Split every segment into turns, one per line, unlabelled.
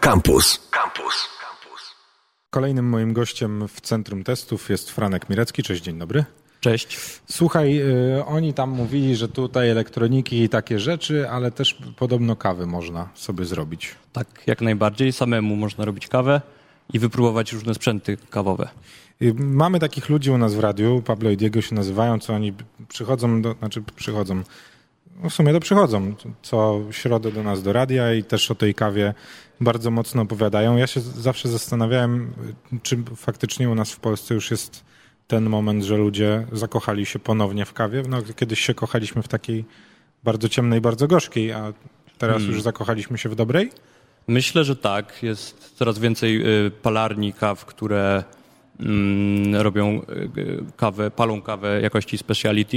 Campus. Campus.
Kolejnym moim gościem w Centrum Testów jest Franek Mirecki. Cześć, dzień dobry.
Cześć.
Słuchaj, y, oni tam mówili, że tutaj elektroniki i takie rzeczy, ale też podobno kawy można sobie zrobić.
Tak, jak najbardziej. Samemu można robić kawę i wypróbować różne sprzęty kawowe.
Y, Mamy takich ludzi u nas w radiu, Pablo i Diego się nazywają, co oni przychodzą, do, znaczy przychodzą, no w sumie to przychodzą, co środę do nas do radia i też o tej kawie bardzo mocno opowiadają. Ja się z- zawsze zastanawiałem, y, czy faktycznie u nas w Polsce już jest ten moment, że ludzie zakochali się ponownie w kawie. No, kiedyś się kochaliśmy w takiej bardzo ciemnej, bardzo gorzkiej, a teraz już zakochaliśmy się w dobrej?
Myślę, że tak. Jest coraz więcej y, palarni kaw, które mm, robią y, y, kawę, palą kawę jakości speciality.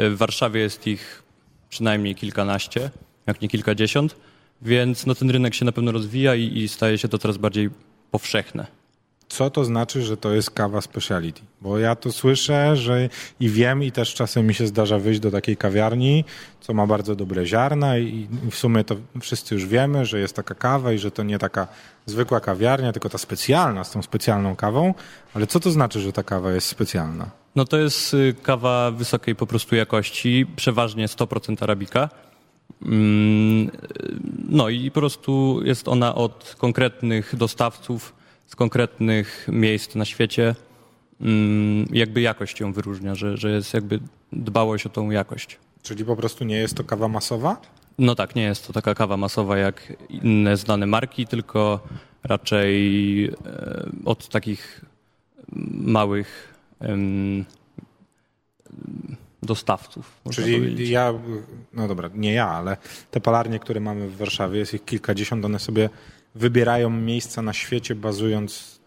Y, W Warszawie jest ich przynajmniej kilkanaście, jak nie kilkadziesiąt, więc no, ten rynek się na pewno rozwija i, i staje się to coraz bardziej powszechne.
co to znaczy, że to jest kawa speciality? Bo ja to słyszę, że i wiem, i też czasem mi się zdarza wyjść do takiej kawiarni, co ma bardzo dobre ziarna, i i w sumie to wszyscy już wiemy, że jest taka kawa i że to nie taka zwykła kawiarnia, tylko ta specjalna, z tą specjalną kawą. Ale co to znaczy, że ta kawa jest specjalna?
No to jest y, kawa wysokiej po prostu jakości, przeważnie 100% arabika. Mm, y, No i po prostu jest ona od konkretnych dostawców z konkretnych miejsc na świecie. Mm, Jakby jakość ją wyróżnia, że, że jest jakby dbałość o tą jakość.
Czyli po prostu nie jest to kawa masowa?
No tak, nie jest to taka kawa masowa jak inne znane marki, tylko raczej e, od takich małych em, dostawców. Można
Czyli
powiedzieć.
ja, no dobra, nie ja, ale te palarnie, które mamy w Warszawie, jest ich kilkadziesiąt, one sobie wybierają miejsca na świecie bazując,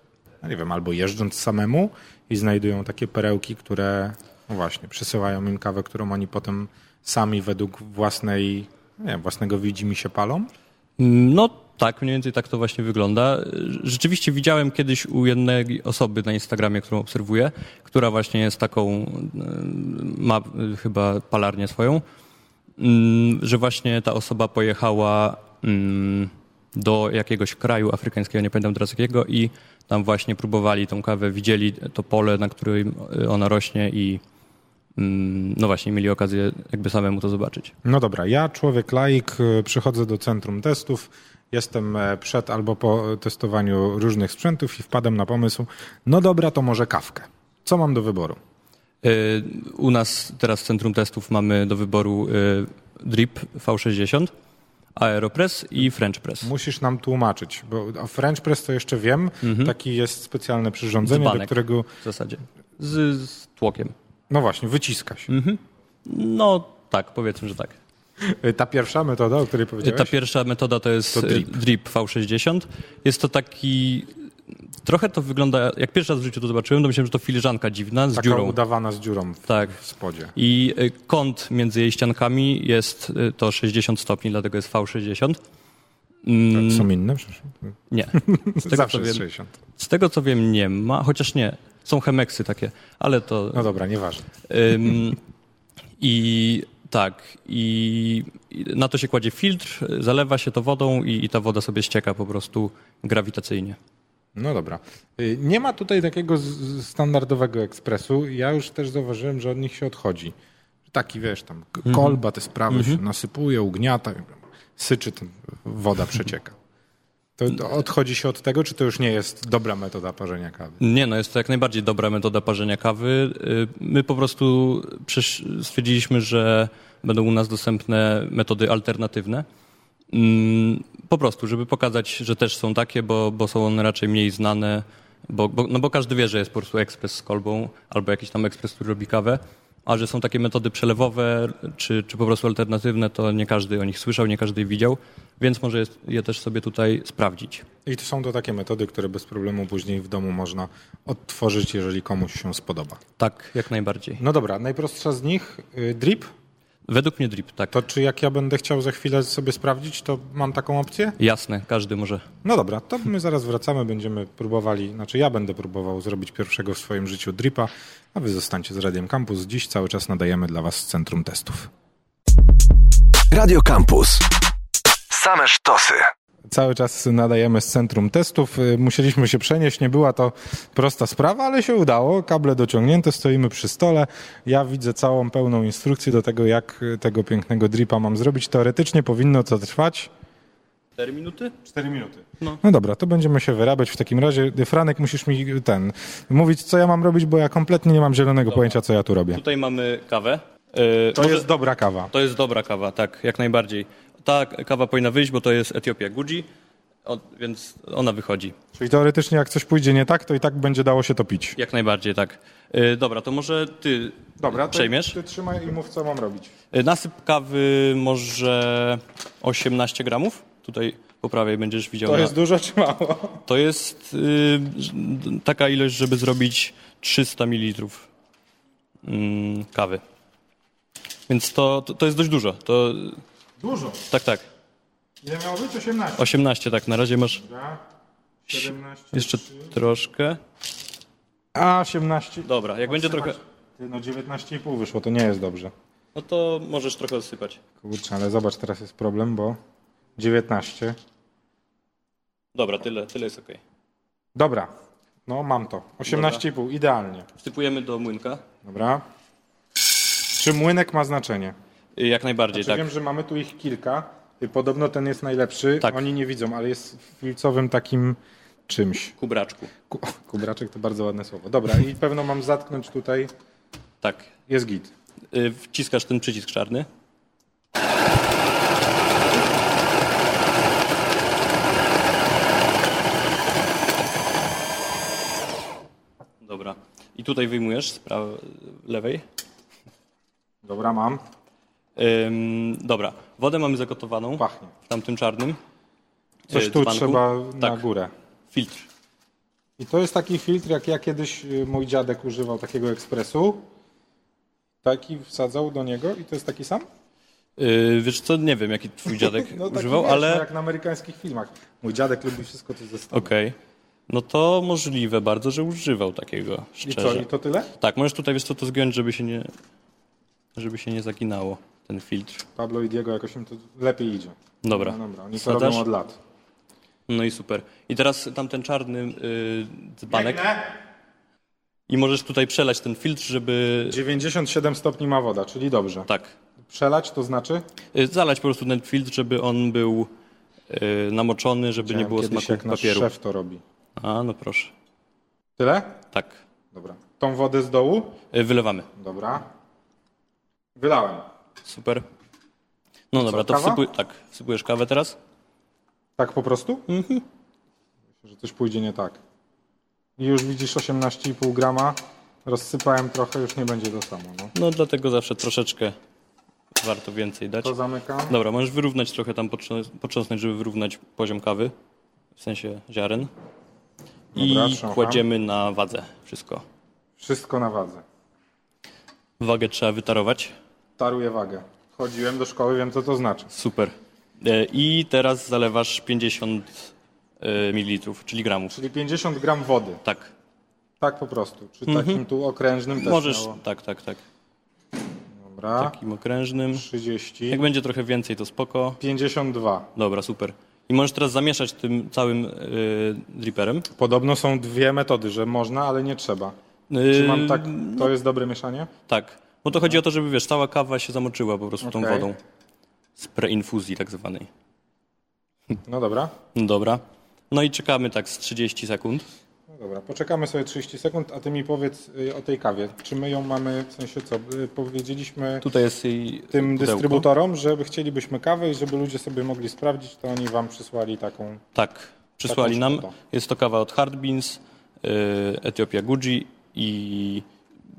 no nie wiem, albo jeżdżąc samemu i znajdują takie perełki, które, no właśnie, przesyłają im kawę, którą oni potem sami według własnej, nie wiem, własnego widzi mi się palą.
No tak, mniej więcej tak to właśnie wygląda. Rzeczywiście widziałem kiedyś u jednej osoby na Instagramie, którą obserwuję, która właśnie jest taką, em, ma y, chyba palarnię swoją, mm, że właśnie ta osoba pojechała mm, do jakiegoś kraju afrykańskiego, nie pamiętam teraz jakiego, i tam właśnie próbowali tą kawę, widzieli to pole, na którym y, ona rośnie i mm, no właśnie mieli okazję jakby samemu to zobaczyć.
No dobra, ja człowiek laik, y, przychodzę do centrum testów, jestem e, przed albo po testowaniu różnych sprzętów i wpadam na pomysł, no dobra, to może kawkę. Co mam do wyboru?
Y, U nas teraz w Centrum Testów mamy do wyboru y, Drip V60, Aeropress i French Press.
Musisz nam tłumaczyć, bo o French press to jeszcze wiem, taki jest specjalne przyrządzenie, do
Mhm. Dzbanek
którego,
w zasadzie. Z, z tłokiem.
no właśnie, wyciska się.
Mhm. No tak, powiedzmy, że tak.
Y, Ta pierwsza metoda, o której powiedziałeś,
Ta pierwsza metoda to jest
To drip.
drip. drip V60. Jest to taki... Trochę to wygląda... Jak pierwszy raz w życiu to zobaczyłem, to myślałem, że to filiżanka dziwna z
taka
dziurą.
udawana z dziurą w,
Tak.
w spodzie.
I y, kąt między jej ściankami jest y, to 60 stopni, dlatego jest V60. Mm,
Są inne? Przepraszam.
nie. Z tego,
Zawsze
co
jest
wiem,
60.
Z tego co wiem, nie ma, chociaż nie. Są Chemeksy takie, ale to.
No dobra, nieważne.
Ym, I tak, i i na to się kładzie filtr, zalewa się to wodą i, i ta woda sobie ścieka po prostu grawitacyjnie.
No dobra. Y, Nie ma tutaj takiego z- z- standardowego ekspresu. Ja już też zauważyłem, że od nich się odchodzi. Taki, wiesz, tam k- kolba, te sprawy się nasypuje, ugniata, syczy, ten, woda przecieka. To, to odchodzi się od tego, czy to już nie jest dobra metoda parzenia kawy?
Nie, no jest to jak najbardziej dobra metoda parzenia kawy. Y, My po prostu przysz- stwierdziliśmy, że będą u nas dostępne metody alternatywne. Mm, Po prostu, żeby pokazać, że też są takie, bo, bo są one raczej mniej znane, bo, bo, no bo każdy wie, że jest po prostu ekspres z kolbą albo jakiś tam ekspres, który robi kawę, a że są takie metody przelewowe czy, czy po prostu alternatywne, to nie każdy o nich słyszał, nie każdy widział, więc może jest, je też sobie tutaj sprawdzić.
I to są to takie metody, które bez problemu później w domu można odtworzyć, jeżeli komuś się spodoba.
Tak, jak najbardziej.
No dobra, najprostsza z nich, y, drip.
Według mnie drip, tak.
To czy jak ja będę chciał za chwilę sobie sprawdzić, to mam taką opcję?
Jasne, każdy może.
No dobra, to my zaraz wracamy, będziemy próbowali, znaczy ja będę próbował zrobić pierwszego w swoim życiu dripa, a wy zostańcie z Radiem Campus. Dziś cały czas nadajemy dla was z Centrum Testów.
Radio Campus. Same sztosy.
Cały czas nadajemy z centrum testów. Y, Musieliśmy się przenieść. Nie była to prosta sprawa, ale się udało. Kable dociągnięte, stoimy przy stole. Ja widzę całą pełną instrukcję do tego, jak y, tego pięknego dripa mam zrobić. Teoretycznie powinno to trwać
4 minuty?
4 minuty.
No.
No. dobra, to będziemy się wyrabiać w takim razie. Franek, musisz mi ten mówić, co ja mam robić, bo ja kompletnie nie mam zielonego pojęcia, co ja tu robię.
Tutaj mamy kawę. Yy,
To
może-
jest dobra kawa.
To jest dobra kawa, tak, jak najbardziej. Ta kawa powinna wyjść, bo to jest Etiopia Guji, o, więc ona wychodzi.
Czyli teoretycznie, jak coś pójdzie nie tak, to i tak będzie dało się to pić.
Jak najbardziej, tak. Yy, dobra, to może ty
Dobra, to
przejmiesz.
Ty trzymaj i mów, co mam robić.
Yy, Nasyp kawy może 18 gramów. Tutaj po prawej będziesz widział.
To
na-
jest dużo czy mało?
to jest yy, taka ilość, żeby zrobić 300 ml mm, kawy. Więc to, to, to jest dość dużo. To,
Dużo.
tak, tak.
Ile miało być? 18.
18, tak, na razie masz
17.
jeszcze troszkę.
A, 18.
Dobra, jak będzie trochę.
Ty, no 19,5 wyszło, to nie jest dobrze.
No to możesz trochę odsypać.
Kurczę, ale zobacz, teraz jest problem, bo 19.
Dobra, tyle, tyle jest ok.
Dobra, no mam to. 18,5, idealnie.
Wsypujemy do młynka.
Dobra. Czy młynek ma znaczenie?
Y, Jak najbardziej,
Czy Znaczy, wiem,
tak.
że mamy tu ich kilka. Y, Podobno ten jest najlepszy.
Tak.
Oni nie widzą, ale jest w filcowym takim czymś.
Kubraczku.
Ku- Kubraczek to bardzo ładne słowo. Dobra, i pewno mam zatknąć tutaj.
Tak.
Jest git.
Y, Wciskasz ten przycisk czarny. Dobra. I tutaj wyjmujesz z prawej, lewej.
Dobra, mam.
Ym, dobra. Wodę mamy zagotowaną
Pachnie.
w tamtym czarnym.
Coś
y,
tu
dzbanku.
trzeba na
Tak,
górę.
filtr.
I to jest taki filtr, jak ja kiedyś y, mój dziadek używał takiego ekspresu. Taki wsadzał do niego i to jest taki sam?
Yy, wiesz co, nie wiem jaki twój dziadek
No taki
Tak, używał,
wiesz,
ale
no Jak na amerykańskich filmach. Mój dziadek lubi wszystko, co zestawu.
okej. No to możliwe bardzo, że używał takiego,
I co,
szczerze.
i to tyle?
Tak, możesz tutaj wiesz co to zgiąć, żeby się nie żeby się nie zaginało ten filtr.
Pablo i Diego jakoś im to lepiej idzie.
Dobra.
No, dobra. Oni to
Wsadzasz?
robią od lat.
No i super. I teraz tamten czarny yy, dzbanek i możesz tutaj przelać ten filtr, żeby
97 stopni ma woda, czyli dobrze.
tak,
Przelać to znaczy?
yy, zalać po prostu ten filtr, żeby on był yy, namoczony, żeby nie
Miałem
było
Tak, kiedyś, jak
smaku
nasz
papieru.
szef to robi.
A, no proszę.
Tyle?
Tak.
Dobra. Tą wodę z dołu?
Yy, wylewamy.
Dobra. Wylałem.
Super. No dobra, to
kawa?
wsypuj, tak, wsypujesz kawę teraz.
Tak po prostu? Mhm. Myślę, że coś pójdzie nie tak. I już widzisz 18,5 grama. Rozsypałem trochę, już nie będzie to samo. No.
No dlatego zawsze troszeczkę warto więcej dać.
To zamykam.
Dobra, możesz wyrównać trochę tam, potrząs- potrząsnąć, żeby wyrównać poziom kawy, w sensie ziaren. I
Dobra, trzącham.
kładziemy na wadze wszystko.
Wszystko na wadze.
Wagę trzeba wytarować.
Taruję wagę. Chodziłem do szkoły, wiem co to znaczy.
Super. E, I teraz zalewasz 50 e, ml, czyli gramów.
Czyli 50 gram wody.
Tak.
Tak po prostu. Czy takim tu okrężnym też
Mhm. Możesz,
miało?
tak, tak, tak.
Dobra.
Takim okrężnym.
30.
Jak będzie trochę więcej, to spoko.
52.
Dobra, super. I możesz teraz zamieszać tym całym y, dripperem.
Podobno są dwie metody, że można, ale nie trzeba. Czy
Y,
mam tak, to jest dobre mieszanie?
Tak. Bo to chodzi o to, żeby wiesz, cała kawa się zamoczyła po prostu tą
No. Okej.
wodą. Z preinfuzji tak zwanej.
No dobra.
No Dobra. No i czekamy tak z 30 sekund.
No dobra, poczekamy sobie 30 sekund, a ty mi powiedz y, o tej kawie. Czy my ją mamy, w sensie co, y, powiedzieliśmy
Tutaj jest jej
tym
pudełko.
dystrybutorom, żeby chcielibyśmy kawę i żeby ludzie sobie mogli sprawdzić, to oni wam przysłali taką.
Tak. Przysłali nam.
szkoda.
Jest to kawa od Hard Beans, y, Etiopia Guji i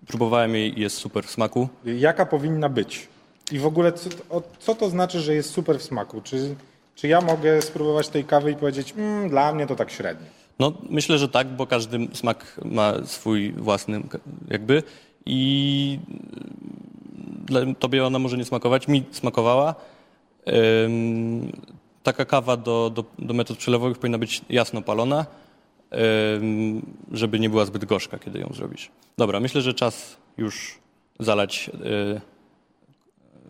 próbowałem jej i jest super w smaku.
Jaka powinna być? I w ogóle co, to- o, co to znaczy, że jest super w smaku? Czy, czy ja mogę spróbować tej kawy i powiedzieć, mm, dla mnie to tak średnio?
No, myślę, że tak, bo każdy smak ma swój własny, k- jakby. I mm, dla, tobie ona może nie smakować, mi smakowała. Ym, taka kawa do, do, do metod przelewowych powinna być jasno palona, ym, żeby nie była zbyt gorzka, kiedy ją zrobisz. Dobra, myślę, że czas już zalać. y,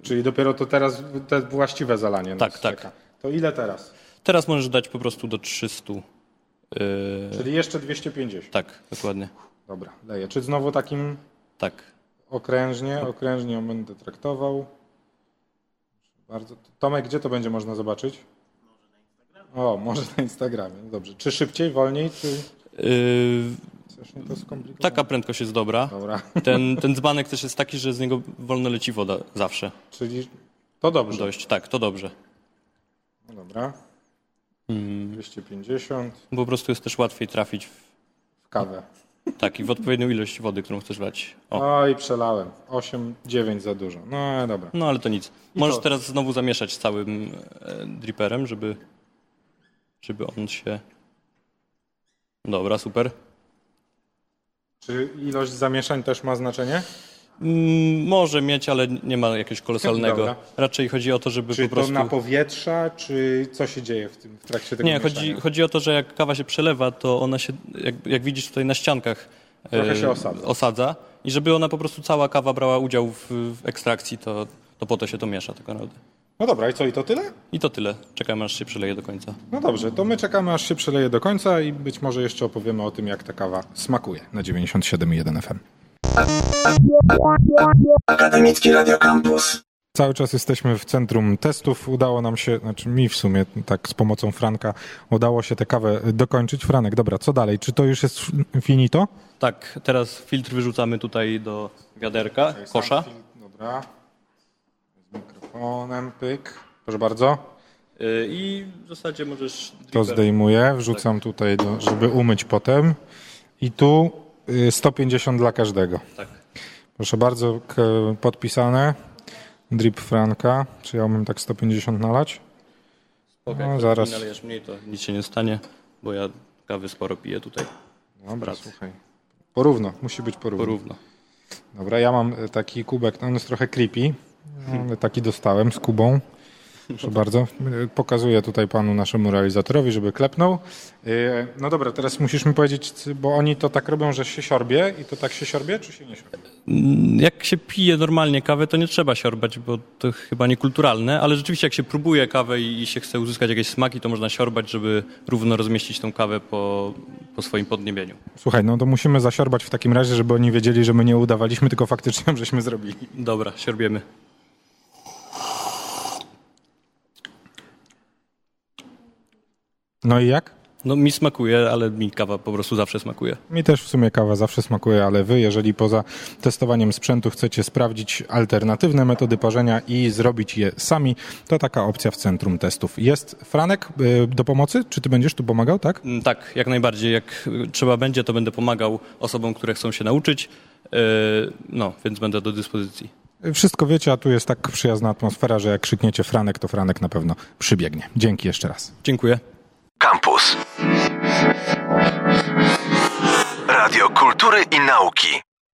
Czyli dopiero to teraz te właściwe zalanie. nas
Tak, tak.
czeka. To ile teraz?
Teraz możesz dać po prostu do 300. Yy,
Czyli jeszcze 250.
tak, dokładnie.
Dobra, leję. Czy znowu takim
Tak.
okrężnie, okrężnie ją będę traktował. Bardzo. Tomek, gdzie to będzie można zobaczyć? O, może na Instagramie. No Dobrze. Czy szybciej, wolniej, czy
Yy,
strasznie to skomplikowane?
taka prędkość jest dobra.
Dobra.
Ten, ten dzbanek też jest taki, że z niego wolno leci woda zawsze.
Czyli to dobrze.
Dojść, tak, to dobrze.
No Dobra.
Mm.
250
Po prostu jest też łatwiej trafić w,
w kawę.
tak, i w odpowiednią ilość wody, którą chcesz lać. O.
O, No i przelałem. 8, 9 za dużo. No dobra.
No ale to nic. Możesz
to-
teraz znowu zamieszać całym e, dripperem, żeby, żeby on się... Dobra, super.
Czy ilość zamieszań też ma znaczenie?
Mm, może mieć, ale nie ma jakiegoś kolosalnego.
Dobra.
Raczej chodzi o to, żeby
Czy
po prostu...
to na powietrza, czy co się dzieje w, tym, w trakcie tego
Nie, chodzi,
mieszania?
chodzi o to, że jak kawa się przelewa, to ona się, jak, jak widzisz tutaj na ściankach, e,
Trochę się osadza.
osadza. I żeby ona po prostu cała kawa brała udział w, w ekstrakcji, to, to po to się to miesza tak naprawdę.
No dobra, i co, i to tyle?
I to tyle. Czekamy, aż się przeleje do końca.
No dobrze, to my czekamy, aż się przeleje do końca i być może jeszcze opowiemy o tym, jak ta kawa smakuje na 97,1 FM.
Akademicki Radio Campus.
Cały czas jesteśmy w centrum testów. Udało nam się, znaczy mi w sumie, tak z pomocą Franka, udało się tę kawę dokończyć. Franek, dobra, co dalej? Czy to już jest finito?
Tak, teraz filtr wyrzucamy tutaj do wiaderka, kosza.
Dobra. Z mikrofonem, pyk. Proszę bardzo.
Y, I w zasadzie możesz...
To
dripper-
zdejmuję, wrzucam
Tak.
tutaj, do, żeby umyć potem. I tu y, 150 dla każdego.
Tak.
Proszę bardzo, k- podpisane. Drip Franka. Czy ja mam tak 150 nalać?
Okay,
No,
no,
zaraz.
zaraz. nalejesz mniej, to nic się nie stanie, bo ja kawy sporo piję tutaj.
Dobra,
Pracy.
słuchaj. Porówno, musi być porówno.
Porówno.
Dobra, ja mam e, taki kubek, no on jest trochę creepy, No, ale taki dostałem z Kubą. Proszę bardzo. E, Pokazuję tutaj panu naszemu realizatorowi, żeby klepnął. E, No dobra, teraz musisz mi powiedzieć, c- bo oni to tak robią, że się siorbie i to tak się siorbie, czy się nie siorbie?
Jak się pije normalnie kawę, to nie trzeba siorbać, bo to chyba niekulturalne, ale rzeczywiście jak się próbuje kawę i i się chce uzyskać jakieś smaki, to można siorbać, żeby równo rozmieścić tą kawę po, po swoim podniebieniu.
Słuchaj, no to musimy zasiorbać w takim razie, żeby oni wiedzieli, że my nie udawaliśmy, tylko faktycznie, żeśmy zrobili.
Dobra, siorbiemy.
No i jak?
No mi smakuje, ale mi kawa po prostu zawsze smakuje.
Mi też w sumie kawa zawsze smakuje, ale wy, jeżeli poza testowaniem sprzętu chcecie sprawdzić alternatywne metody parzenia i zrobić je sami, to taka opcja w centrum testów jest. Franek, y, do pomocy? Czy ty będziesz tu pomagał, tak?
Mm, Tak, jak najbardziej. Jak y, trzeba będzie, to będę pomagał osobom, które chcą się nauczyć. Yy, No, więc będę do dyspozycji.
Wszystko wiecie, a tu jest tak przyjazna atmosfera, że jak krzykniecie Franek, to Franek na pewno przybiegnie. Dzięki jeszcze raz.
Dziękuję.
Campus. Radio Kultury i Nauki.